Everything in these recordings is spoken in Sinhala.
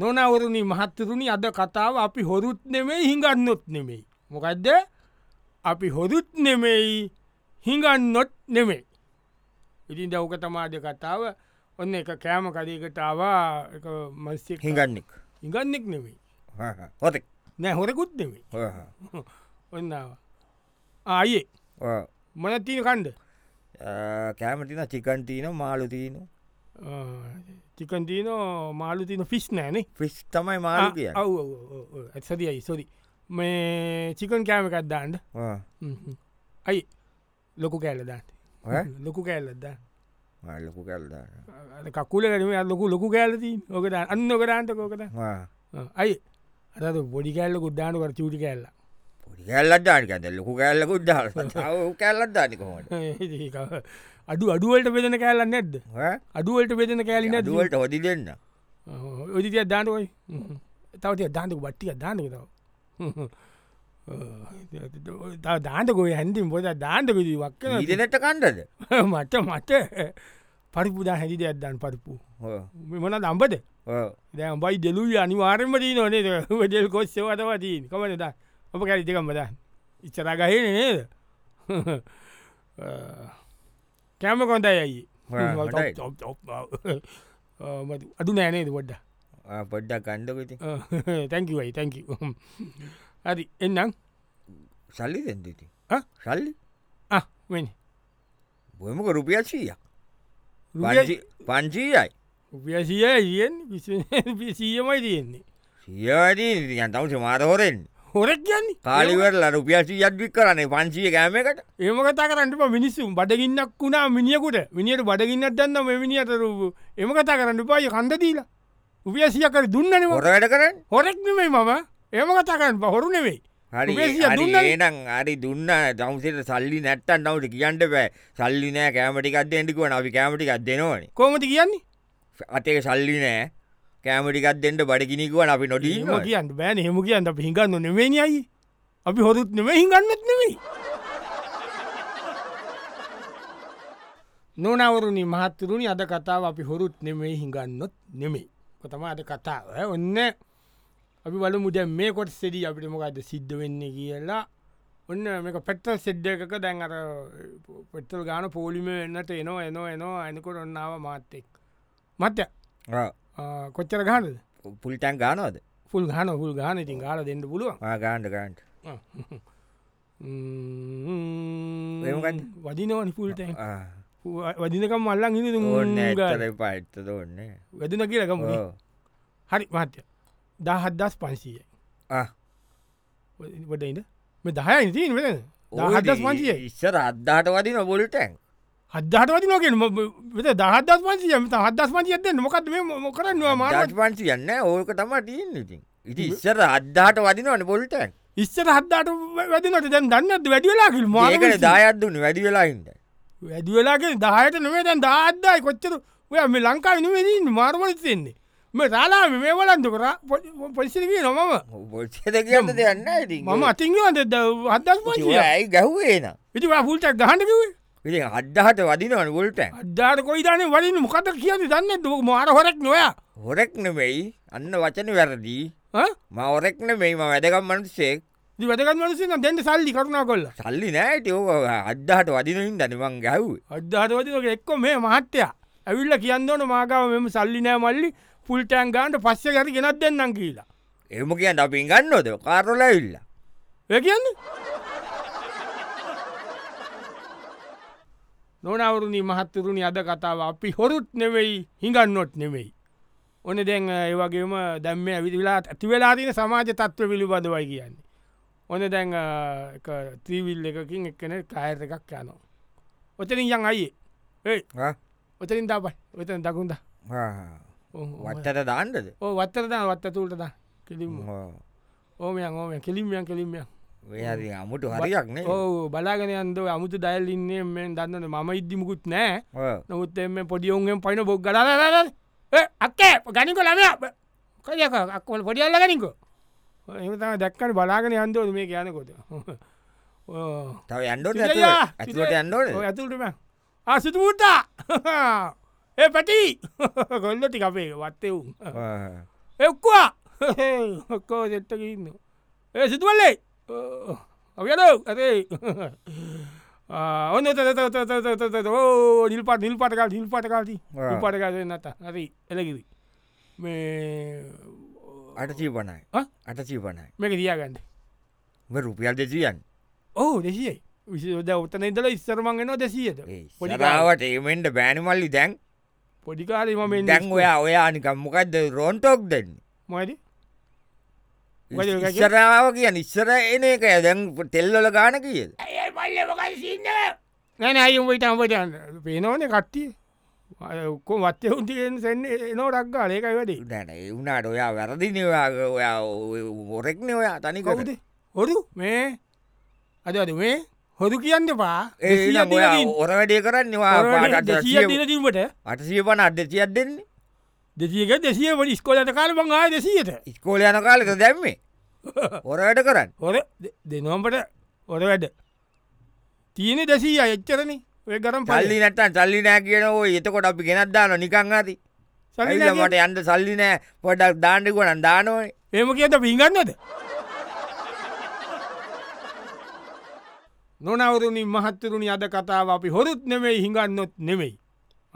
නොනවරුණි මහත්තරුණි අද කතාව අපි හොරුත් නෙමෙයි හිඟන්නොත් නෙමෙයි. මොකක්ද අපි හොරුත් නෙමෙයි හිඟන්නොත් නෙමෙයි. ඉතින් දවක තමාද කතාව ඔන්න එක කෑම කරීකටාවා මස්සේ හිඟන්නෙක් හිඟන්නෙක් නෙමෙයි හොතෙක් නෑ හොරකුත් නෙමෙයි ඔන්නාව ආයේ මන තින කන්ද කෑමටින චිකන්ටීන මාලුතිීන චිකන්තිීනෝ මාලුතින ෆිස් නෑනේ ෆිස් තමයි මාලු කිය ඇත්සතියයි සොරි මේ චිකන් කෑමකත් දාන්න අයි ලොකු කෑලදාන්න ලොකු කෑල්ලදා ලොකු කල්දාන කකුල කරම ලොකු ලොකු කෑලති ඕකද අන්න කරාන්ත කෝකද අයි අද බොඩි කෑල්ල ගුඩ්ඩානුකට චූටි කෑල්ල පොඩි කැල්ලත් දානිකද ලොකු කැල්ලකුත් දාල කැල්ලත් දානිකොමට අඩු අඩුවලට පෙදෙන කෑල්ල නැද්ද අඩුවලට පෙදෙන කෑලි නැද දුවලට හොදි දෙන්න ඔදිතිය දානුවයි තවතිය දාන්තක බට්ටික දානක තව තව දාන්තකොයි හැඳින් පොද දාන්තකදී වක්කන ඉදනට කණ්ඩද මට මට පරිපුදා හැදි දෙයක් දන් පරිපු මෙමන දම්බද දැම් බයි දෙලු අනිවාරමදී නොනේ දෙල් කොස්සවතවතිී කමනද අප කැරිතිකම්බද ඉච්චරගහන නේද කෑම කොන්තයි ඇයි ආ, හොඳයි. අඩු නෑනේද පොඩ්ඩ පොඩ්ඩක් කණ්ඩකති තැංකිවයි තැංක හරි එන්නම් සල්ලි දෙදති ආ? සල්ලි වෙන බොමක රුපියක්ෂීය පංචීයයි උපියසිය යෙන් පිසීයමයි තියෙන්නේ සියදී යන්තම සමාරහොරෙන් හොරක් කියන්නේ කාලිවරල රුපියසි යද්වික් කරන්නේ පංචිය කෑමකට ඒම කතා කරන්නට මිනිස්සුම් බඩගින්නක් වුණා මිනිියකුට මිනිියට බඩගින්නත් දන්න මෙමිනිියතරූපු එම කතා කරන්න පාය කන්දදීලා උපියසිය කර දුන්නන හොර වැඩ කරන්න හොරෙක් නෙමයි මම ඒම කතා කරන්න හොරු නෙවෙයි හරි උපේසිය හරි දුන්නනේ. ඒනම් හරි දුන්න දවසට සල්ලි නැත්තන් නවට කියන්නට පෑ සල්ලි නෑ කෑමටිකක්ද එඩිකුව අපි කෑමටිකක් දෙනවන කෝමති කියන්නේ අතක සල්ලි නෑ කෑමටිකක් දෙට බඩිගිනිකුවන් අපි එහෙම නොටීම කියන්න බෑන හෙම කියන්න අප හිඟන්න නෙවෙනි අයි අපි හොරුත් නෙම හිඟන්නත් නෙවෙයි නොනවරුණි මහත්තරුණි අද කතාව අපි හොරුත් නෙමේ හිඟන්නොත් නෙමේ කොතම අද කතාව ඈ. ඔන්න අපි වල මුද මේ කොට සෙඩී අපිට මොකද සිද්ධ වෙන්න කියලා ඔන්න මේක පෙටල් සෙඩ්ඩ එකක දැන් අර පෙටල් ගාන පෝලිම වෙන්නට එනවා එනවා එනවා අනිකොට ඔන්නාව මාත්තෙක් මත්‍ය කොච්චර ගානද පුල්ටන් ගානවද පුල් ගහන පුල් ගහන ඉතින් ගාල දෙන්න පුළුවන් ගාන්ඩ ගාන්ට ඒමකන්? වදිනව නිපුල්ට වදිනකම් මල්ලන් හි ඕන්න ඇතර පයිත්ත දෝන්න වැදින කියලකම හරි මත්‍ය දහත්දස් පන්සීය වටයිද මේ දහයි තින් වෙන දහත්දස් පන්සිය ඉස්සර අද්දාට වදින බොලිටැන් හදදාට වදිනෝකෙන් වෙත දහත්දස් පන්සියම හදස් පන්සියද මොකත් මේ මො කරන්නවා මාර මාරජ පංචි යන්න ඕක තම ටීන් ඉතින් ඉති ඉස්සර අද්දාට වදිනවන බොලිටැන් ඉස්සර හදදාට වැදිනට දැන් දන්නත් වැඩියලාකිල් මාකට මාකට දායත්දුන්න වැඩි වෙලාහින්ට වැඩිවෙලාගෙන දහයට නොවේ දැන් දාද්දායි කොච්චර ඔය මේ ලංකාව නිවෙදී මාර්මලතියෙන්නේ මේ රලා මේ වලන්තු කර පොලිසිකී නොමම බොච්චද කියන්න දෙයන්න ඉති මම අතිංගලන්ද හදස් පච ඇයි ගැහ්වේන ඉති පුල්ටක් ගහන්නකිව ඉති අද්දාහට වදිනවන ගොල්ටන් අධාර කොයිදාන වලින් මොකත කියද දන්න දුව මාර හොරක් නොයා හොරෙක් නෙවෙයි අන්න වචන වැරදිී මවරෙක් නෙවෙයි ම වැදකම් මනසෙක් වැදගත් වලසින දැන්ට සල්ලි කරුණා කොල්ල සල්ලි නෑට ඕක අද්දාහට වදිනින් දනිවන් ගැව් අධාරවතික එක්කො මේ මහත්තයා ඇවිල්ල කියන්නවන මාගාව මෙම සල්ලි නෑ මල්ලි පුල්ටෑන් ගාන්ට පස්ස ගැරි ගෙනත් දෙන්නම් කියලා එම කියන්න අපින් ගන්නෝද කාරොල ඉල්ල ඒ කියන්න නොනවරුණී මහත්තරුණි අද කතාව අපි හොරුත් නෙවෙයි හිඟන්නොත් නෙවෙයි. ඕන දැන් ඒවගේම දැම්ම ඇවිදිලාත් ඇතිවෙලාතින සමාජ තත්ව පිළිබඳවයි කියන්නේ. ඕන දැන් ත්‍රීවිල් එකකින් එක්කන කායර එකක් යනවා. ඔතනින් යන් අයියේ ඒ ඔතරින් දාපයි ඔතන දකුන්ද වත්තට දාන්නද ඕ වත්තරදා වත්ත තුූල්ටද කිලිම් ඕමයන් ඕම කෙලිම්යන් කෙලිම්යන් වෙහරි අමුට හරියක්නේ ඕ බලාගෙනයන්ද අමුතු දයිල් ඉන්නේ මෙ දන්නන ම ඉද්දිමකුත් නෑ නොත් එම පොඩියවුන්ගෙන් පයින බොක් ගලාල අක්කේ ගනික ලම කයක අක්කොල් පොඩියල්ල ගනිකෝ එතම දැක්කන බලාගෙන යන්දෝද මේ කියනකොට තව යන්ඩෝ සිතයියා! ඇතුවට යන්ඩෝන ඇතුටම ආසිතුූතා ඒ පැටි ගොල්ලොටි අපේ වත්තෙවුම් එක්වා ඔක්කෝ සෙට්ටකන්න ඒ සිතුවල්ලේ අවියද ඇතේ ඔන්න නිල් පට නිල් පටකල් නිල් පටකාති ආ. පටකාල නත ඇති එලකිරි මේ අට චීපනයි ආ? අට චීපනයි මේක දියගන්න මේ රුපියල් දෙසියන් ඕ දෙසියයි විසිද ඔත්තන ඉදල ඉස්සරමන්ගෙනවා දෙසියට රාවට ඒමෙන්ට බෑනිමල්ලි දැන් පොඩිකාල ම දැන් ඔයා ඔයානිකම් මොකක්ද රෝන්ටෝක් දෙන්න මද මොකද ඔය කියන්නේ? ඉස්සරාව කිය නිස්සර එන එක දැන් තෙල්ලොල ගාන කියද නැන අයුම්ට අමටයන්න පේනවන කට්ටිය ඔක්කෝ වත්්‍ය උන්තිෙන් සැන්න එනෝ රක්ගා ඒකයි වැඩේ නැන එවුණට ඔයා වැරදිනවා ඔයා මොරෙක්න ඔයා තනිකොද කවුද හොරු මේ අද අද මේ හොරු කියන්න පා ඒ ඔයා ඔර වැඩේ කරන්නවා දීමට අටසිය පන අද දෙසියක් දෙන්නේ දෙසියක දෙසිය වල ස්කොලට කාල බංආ දෙසියට ඉස්කෝල යන කාලක දැම්මේ හොර වැඩ කරන්න හොර දෙනොම්ට හොර වැඩ තියෙන දෙසී අයච්චරන ඔය කරම් පල්ලි නැත්තන් සල්ලි නෑ කියන ඕ එතකොට අපි ගෙනත් දාන නිකං ඇති ඇවිලමට යන්ට සල්ලි නෑ පොඩක් දාණ්ඩිකුවන දානෝයි එම කියත පිගන්නද නොනවරුණින් මහත්තරුණි අද කතාව අපි හොරුත් නෙමෙයි හිඟන්නොත් නෙමෙයි.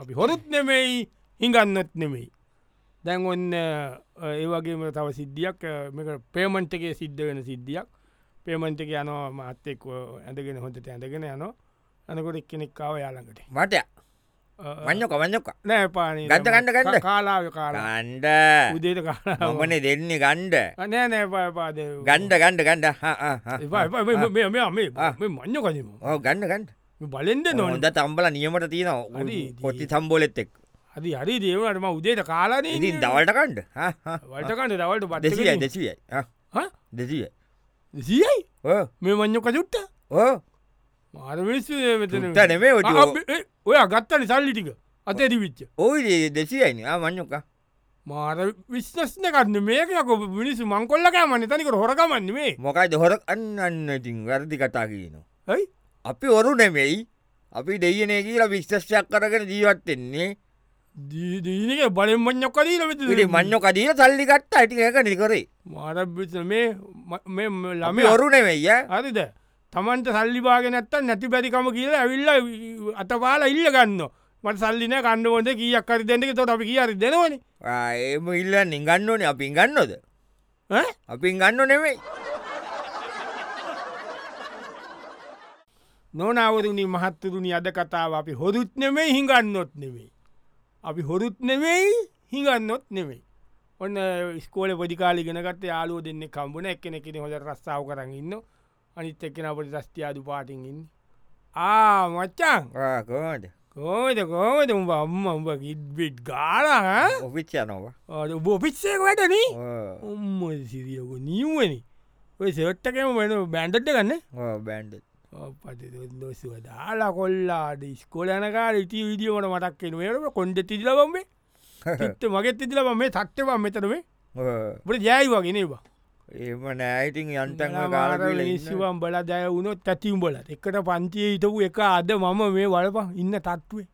අපි හොරුත් නෙමෙයි හිඟන්නොත් නෙමෙයි. දැන් ඔන්න ඒවගේම තව සිද්ධියක් පේමන්ටගේ සිද්ධ වෙන සිද්ධියක් පේමන්ටක යනවා මාත්තෙක් ඇඳගෙන හොඳට ඇඳගෙන යනවා ඇනකොට එක් කෙනෙක් කාව යාලඟට මට මං්ඥොක මං්ඥොක නෑ පාන ගත්ත ගන්න ගන්න. කාලාව කාලා ගණ්ඩ උදේට කාලා මොමනේ දෙන්නේ ගණ්ඩ නෑ නෑ පාපාද ගණ්ඩ ගණ්ඩ ගණ්ඩ ආ. මං්ඥ කලීම ඕ ගණ්ඩ ගණ්ඩ බලෙන්ද නොන නොද තම්බල නියමට තියෙන හරි. කොට්ටි සම්බෝලෙත් එක් හරි හරි දේවටම උදේට කාලාන ඉතින් දවල්ට කණ්ඩ වටකට දවට දෙසියයි පට දෙසියයි දෙසිය සියයි ඕ මේ මං්ඥක චුට්ට ඕ මාරමිස් චුට්ට නෙමේ ඔය ටික. ඔය ගත්තන සල්ලි ටික අතේ දිවිච්ච ඕයි දෙසියයි මං්ඥොක මාර විශ්නස්න කරන්න මේකක මිනිසු මංකොල්ලකෑ මන්න තනිකට හොරකමන්න මේ මොකයිද හොර අන්න අන්න ඉතින් වැරදි කතා කියනවා ඇයි අපි ඔරු නෙමෙයි අපි දෙයනේ කියලා විශ්ෂයක් කරගෙන ජීවත්වෙන්නේ දීනක බලෙන් මං්ඥක් කදී පිළි ලවෙ මං්ඥො කදීල සල්ලි කට්ට අටි එක නිකරේ මාර මේ ම- මේ අපි ළමේ ඔරු නෙමෙයි ඈ. හරිද තමන්ට සල්ලිබාග නැත්තන් නැති පැරිකම කියලා ඇවිල්ල අතපාල ඉල්ල ගන්න මට සල්ලින කණ්ඩුවොද කියක් කරි දෙන්නක තොට අපි කියරි දෙනවන ආ, ඒම ඉල්ල නිගන්නඕනේ අපින් ගන්නොද අපින් ගන්න නෙමෙයි නොනවරුණි මහත්තරුණි අද කතාව අපි හොරුත් නෙමේ හිඟන්නොත් නෙවෙයි. අපි හොරුත් නෙවෙයි හිඟන්නොත් නෙවෙයි. ඔන්න ස්කෝල පොඩිකාල ගෙනකට යාලෝ දෙන්න කම්බුණ එක්කෙනෙකිෙන හොඳ රස්සාාව කරන්න ඉන්න අනිත් එක්කෙන අපට සස්තියාදු පාටිගන්න. ආ මච්චන් ආ, කොහොමද කෝමද කෝමද උඹ අම්ම උඹ ගිඩ්බිට් ගාලා ඔෆිච් යනවා බෝ පිච්සේ වැටන ඕ, උම්ම සිරියක නිවනි ඔය සෙවට්ටකම වෙන බැන්ඩට ගන්න ඕ, බැන්ඩ් පතිදොස්සුව දාලා කොල්ලාට ස්කොලනකා ඉති විඩියෝට මටක් කෙනවරම කොන්ඩ තිදිලබම්බේ ත මගෙත් ඉතිලබ මේ තත්්‍යවම් මෙතරේ ඕ, බට ජයයි වගෙනවා ඒම නෑයිතින් යන්ටන් ශවම් බල ජය වුණොත් ඇතිම් බලත් එකට පන්තිය හිටපු එක අද මම මේ වලප ඉන්න තත්ත්වේ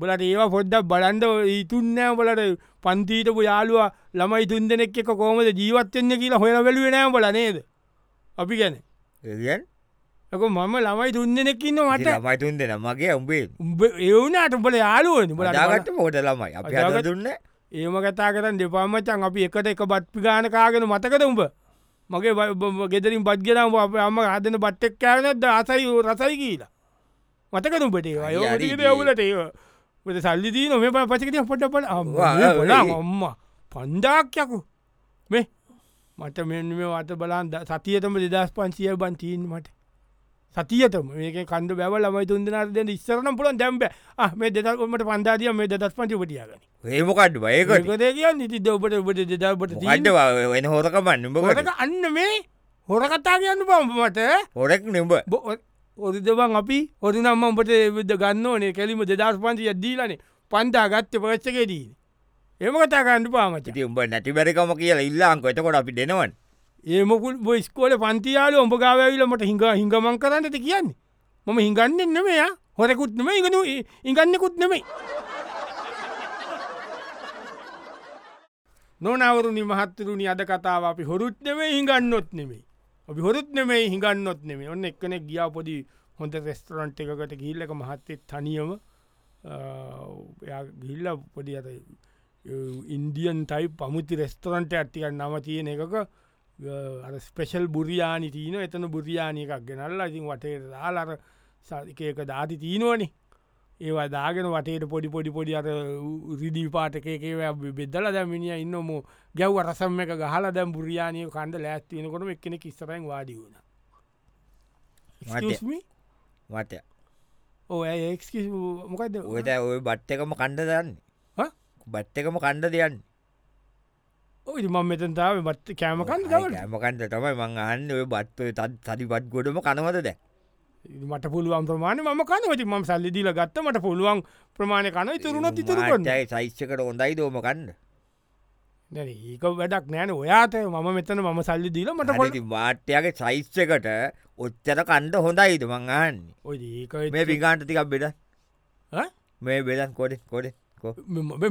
බලට ඒවා පොඩ්ඩක් බලන්ඩ ඉතුන්නෑ බලට පන්තීටපු යාළුවා ළමයි තුන් දෙනෙක් එක කෝමද ජීවත්වෙන්න කියලා හොය වැලුවෙනෑ බල නේද අපි ගැන ගෙන් එක මම ළමයි තුන් දෙනෙක්කින්න මට මයිතුන් දෙෙන මගේ උඹේ උඹ එවුණට උඹල යාලුවන දාගට පෝට ළමයි අපි අද අදාගත්ත- දුන්න ඒම කතා කරන්න දෙපාමචන් අපි එකට එක බත් පිගාන කාගෙන මතකද උඹ මගේ බ- බ- බ- ගෙදරින් බද්ගෙනම් අප අම හදන බට්ටෙක් කරනද අසයි රසයි කියලා මතක උඹට හරි, හරි. ඒවලට ඒට සල්ලිදී නොම පචකතිය පොට පල වා, බල ඒ. අම්ම පන්ඩාක්යකු මේ මට මෙම අත බලන් ද- සතියටම දෙදස් පන්සිය බන්තීන් මට සතියටම මේක කණඩ බැව ලමයි තුන්දනාට දෙන්න ඉස්සරනම් පුලන් දැම්බ මේ දෙදල්කොමට පන්දාතිය මේ දස් පංචි පටියගන ඒමකඩ් බයකට ඒකදේ කිය නිති දඔබට ඔබට දෙදල්බට ගඩ වෙන හෝරකමන් නුඹකට හොරක අන්න මේ හොර කතා කියන්න පම්පමට හොරෙක් නුඹ ඔරිදවන් අපි හොරි නම්ම උඹට විද ගන්න ඕනේ කෙලිම දෙදස් පන්ති යද්දීලනේ පන්තා ගත්ත පරච්චකෙදී එම කතා ගණ්ඩු පාමච ඉති උඹ නැති බැරිකම කියලා ඉල්ලාංක එතකොට අපි දෙනවන් ඒමකුල් බොයිස්කෝල පන්තියාල ඔඹ ගාවැවිලමට හිඟ හිඟමන් කරන්නට කියන්නේ මම හිඟන්නෙන් නෙමයා හොරකුත්නම ඉගනු ඉගන්නෙකුත් නෙමයි නොනවරුණි මහත්තරුණි අද කතාව අපි හොරුත් නෙමේ හිඟන්නොත් නෙමේ අපි හොරුත් නෙමේ හිඟන්නොත් නෙමේ ඔන්න එක්කනෙ ගියාපොදි හොඳ රෙස්ටරන්ට් එකකට ගිල්ලක මහත්තේ තනියම එයා ගිල්ල පොඩි අත ඉන්දියන් තයි පමුති රෙස්ටරන්ට ඇතිකන් නම තියෙන එකක ස්පේෂල් බුරියානි තියන එතන බුරියානය එකක් ගෙනල්ලා ඉතින් වටේ දාලර සාධකයක දාති තියනවනේ ඒවා දාගෙන වටේට පොඩි පොඩි පොඩි අර රිදිී පාටකේකේ බෙද්දල දැමිනිිය ඉන්නම ගැව් රසම් එක ගහල දැම් බුරියානය කණ්ඩ ලෑස්තිනකොට එක්කෙන කිස්සරෙන් වාඩි වුණ මට- මට ඕක් මොකද ඔයට ඔය බට්ට එකම කණ්ඩ දන්නේ හා? බට් එකම කණ්ඩ දෙයන්න ඔයි මං මෙතන්තාව බත් කෑමකන් ගවට ඇමකන්ට තමයි මං අන්න ඔය බත්ව තත් සරිපත් ගොඩම කනවද දැ මට පුළුවන් ප්‍රමාණ ම කනවති ම සල්ලිදිල ගත්ත මට පුළුවන් ප්‍රමාණය කන ඉතුරුණත් ඉතුරු කරන්න යි සයිශ්‍යකට හොඳයි දෝම කන්න දැන් ඒක වැඩක් නෑන ඔයාත මම මෙතන ම සල්ලි දීල මට පොල වාට්‍යයාගේ සයිශ්‍යකට ඔච්චර කණ්ඩ හොඳයිද මං අන්න ඔය ඒක මේ පිකාන්ට තිකක් බෙද ඈ? මේ බෙදන් කොඩ කොඩ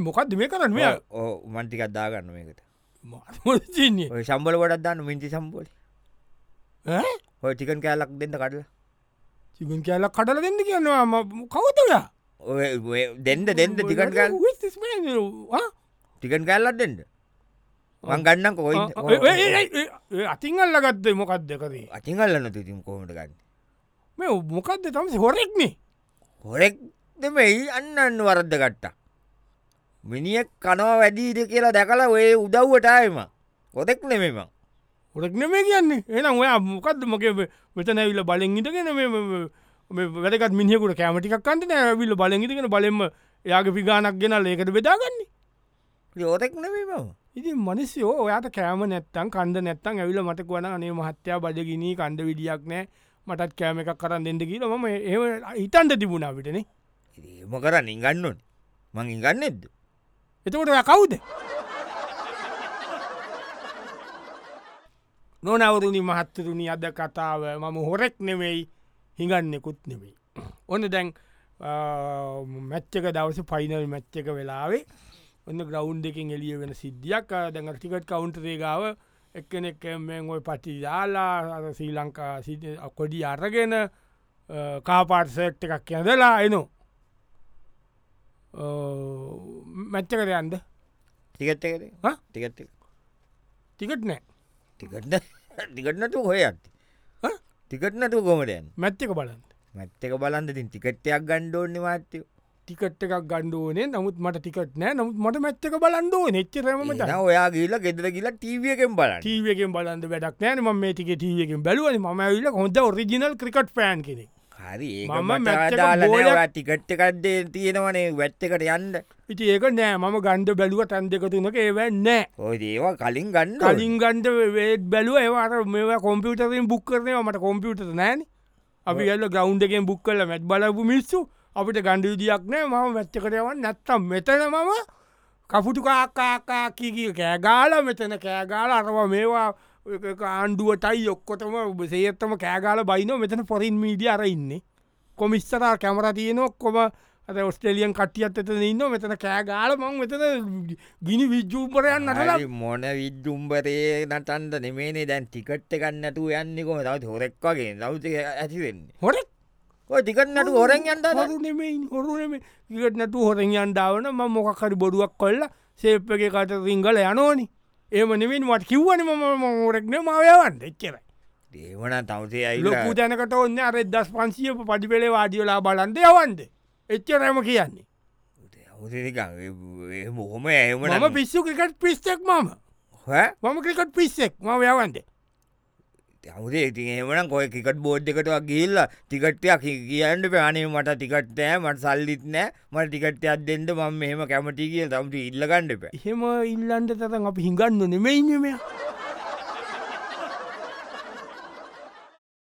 මොකක්ද මේ කරන්න මෙයා? ඕ මන්ටිකක් දාගන්න මේකට මාර ජීනියෙක්. ඔය සම්බල වඩත් දන්න මින්චි සම්බෝලි ඈ? හොය ටිකන් කෑලක් දෙන්න කඩලා චිකන් කියල්ලක් කටල දෙන්න කියන්නවා ම කවතලා ඔය ඔය දෙන්න දෙන්න ටිකන් කෑල් ටිකන් කෑල්ලක් දෙන්න මං ගන්නක කොයි අතිංගල්ල ගත්ත මොකක් දෙකරේ අතිගල්ලන්න තිතිම් කොමට ගන්න මේ මොකක්ද තමස හොරෙක්නේ හොරෙක් දෙමයි අන්න අන්න වරද්ද ගට්ට මිනිියක් කනවා වැඩීද කියලා දැකලා ඔය උදව්වටයම කොතෙක් නෙමෙම හොරෙක් නෙමේ කියන්නේ එනම් ඔයා මොකක්ද මොකේ මෙතන ඇවිල්ල බලෙන් ඉටගෙන වැඩකත් මිනිියකුට කෑමටික් කන්ට ඇවිල්ල බලෙන් ඉටගෙන බලෙම යාගේ පිගානක් ගෙන ලේකට බෙදාගන්නේ යෝතෙක් නෙමම ඉති මනිස්යෝ ඔයාට කෑම නැත්තන් කන්ද නැත්තන් ඇවිල මට වන අනේ මහත්තයා බඩගිනී කණ්ඩ විඩියක් නෑ මටත් කෑම එකක් කරන්න දෙන්න කියීල ම ඒ හිතන්ට තිබුණාවිටන ඒම කරන්න ඉගන්නුන් මං ඉගන්න එද්ද එතකොට ඔයා කවුද නොනවරුණි මහත්තරුණි අද කතාව මම හොරෙක් නෙවෙයි හිඟන්නෙකුත් නෙවෙයි. ඔන්න දැන් මැච්චක දවස පයිනල් මැච්චක වෙලාවේ ඔන්න ග්‍රවන්් එකින් එලිය වෙන සිද්ධියක් අ, දැන් ටිකට් කවුන්ටරේගාව එක්කනෙක් මෙන් ඔය පටි යාලා අර ශ්‍රී ලංකා සිට- කොඩි අරගෙන කාපාට්සට් එකක් කියදලා එනෝ මැච්චකට යන්ද ටිකත් එකද හා? ටිකත් එක. තිකට නෑ ටිකට්න ටිකට්නතු හොය ඇති හා? ටිකට්නතු කොමටයන් මැච්චක බලන්න මැත්තක බලන්දතින් ටිකට්ටයක් ගණ්ඩෝන්න වාත්‍යය ටිකට් එකක් ගණ්ඩුවනේ නමුත් මට ටිකට නෑ නමුත් මට මැච්චක බලන්ඩුව නෙච්චරම ඔයා ගීල ගෙදර කියලා ටීවියකෙන් බලන්න ටීවකෙන් බලන්න වැඩක් නෑන ම මේ ටික ටීවකෙන් බැලුවන ම ඇවිල හොඳ ඔරිජිනල් ක්‍රිකට් පෑන් කෙනෙ හරි මම මැට් එක බෝලයක්- ටිකට්ට කඩ්ඩේ තියෙනවනේ වැට්ටකට යන්න ඉති ඒක නෑ මම ගණ්ඩ බැලුව තැන් දෙක තුනක ඒවැ නෑ ඔය ඒවා කලින් ගන්න කලින් ගන්ඩ වේත් බැලුව ඒවාර මේ කොම්පියුටරෙන් බුක් කරනය මට කොම්පියුට නෑන අපි ඇල්ල ගෞන්් එකෙන් බුක් කල මැත් බලපු මිස්සු අපිට ගණ්ඩ විදියක් නෑ මම වැච්චකරයවන් නැත්තම් මෙතන මම කපුටු කාකාකාකිී කෑගාල මෙතන කෑගාල අරවා මේවා ආණ්ඩුවටයි ඔක්කොටම සේත්තම කෑගාල බයිනෝ මෙතන පොරින් මීඩිය අරඉන්නේ කොමිස්සරා කැමර තියනොක්කොම ඇ ඔස්ටේලියන් කටියත් එතන ඉන්න මෙතන කෑගාල මං මෙතන ගිනි විජ්ජූපරයන් නටලා හරි මොන විද්දුම්බරේ නටන්ද නෙමේනේ දැන් ටිකට්ට ගන්නතු යන්නෙකොම තවත් හොරෙක් වගේ දෞත ඇතිවෙන්නේ හොට ඔය ටිකට්නට හොරෙන් යන්ට හරුනෙමයින් හොරුනෙම ඉකට නැතු හොරෙන් අන්ඩාවන ම මොකක්හරි බොරුවක් කොල්ල සේප් එක කට රිංගල යනෝනි ඒම නෙමින් වට කිව්වන ම හොරෙක්න මවයවන්න එච්චරයි දේවන තවසේ ඇයිල ලොකු දැනකට ඔන්න අර දස් පන්සිය පඩිපෙළේ වාඩියලා බලන්ද යවන්ද එච්චරම කියන්නේ මොහොම ඇමන මම පිස්සු ක්‍රිකට් පිස්සෙක් මම මම ක්‍රිකට් පිස්සෙක් මම යවන්ද තවසේ ඉතින් එමන කොය ටිකට් බෝඩ් එකටක් ගිල්ල ටිකට්ටයක් කියන්න පානේ මට ටිකට්ටෑ මට සල්ලිත් නෑ මට ටිකට්ටයක් දෙන්න මම මෙහම කැමටි කිය තමට ඉල්ලගණ්ඩප එහෙම ඉල්ලන්ට තතන් අපි හිඟන්න නෙමයිනමය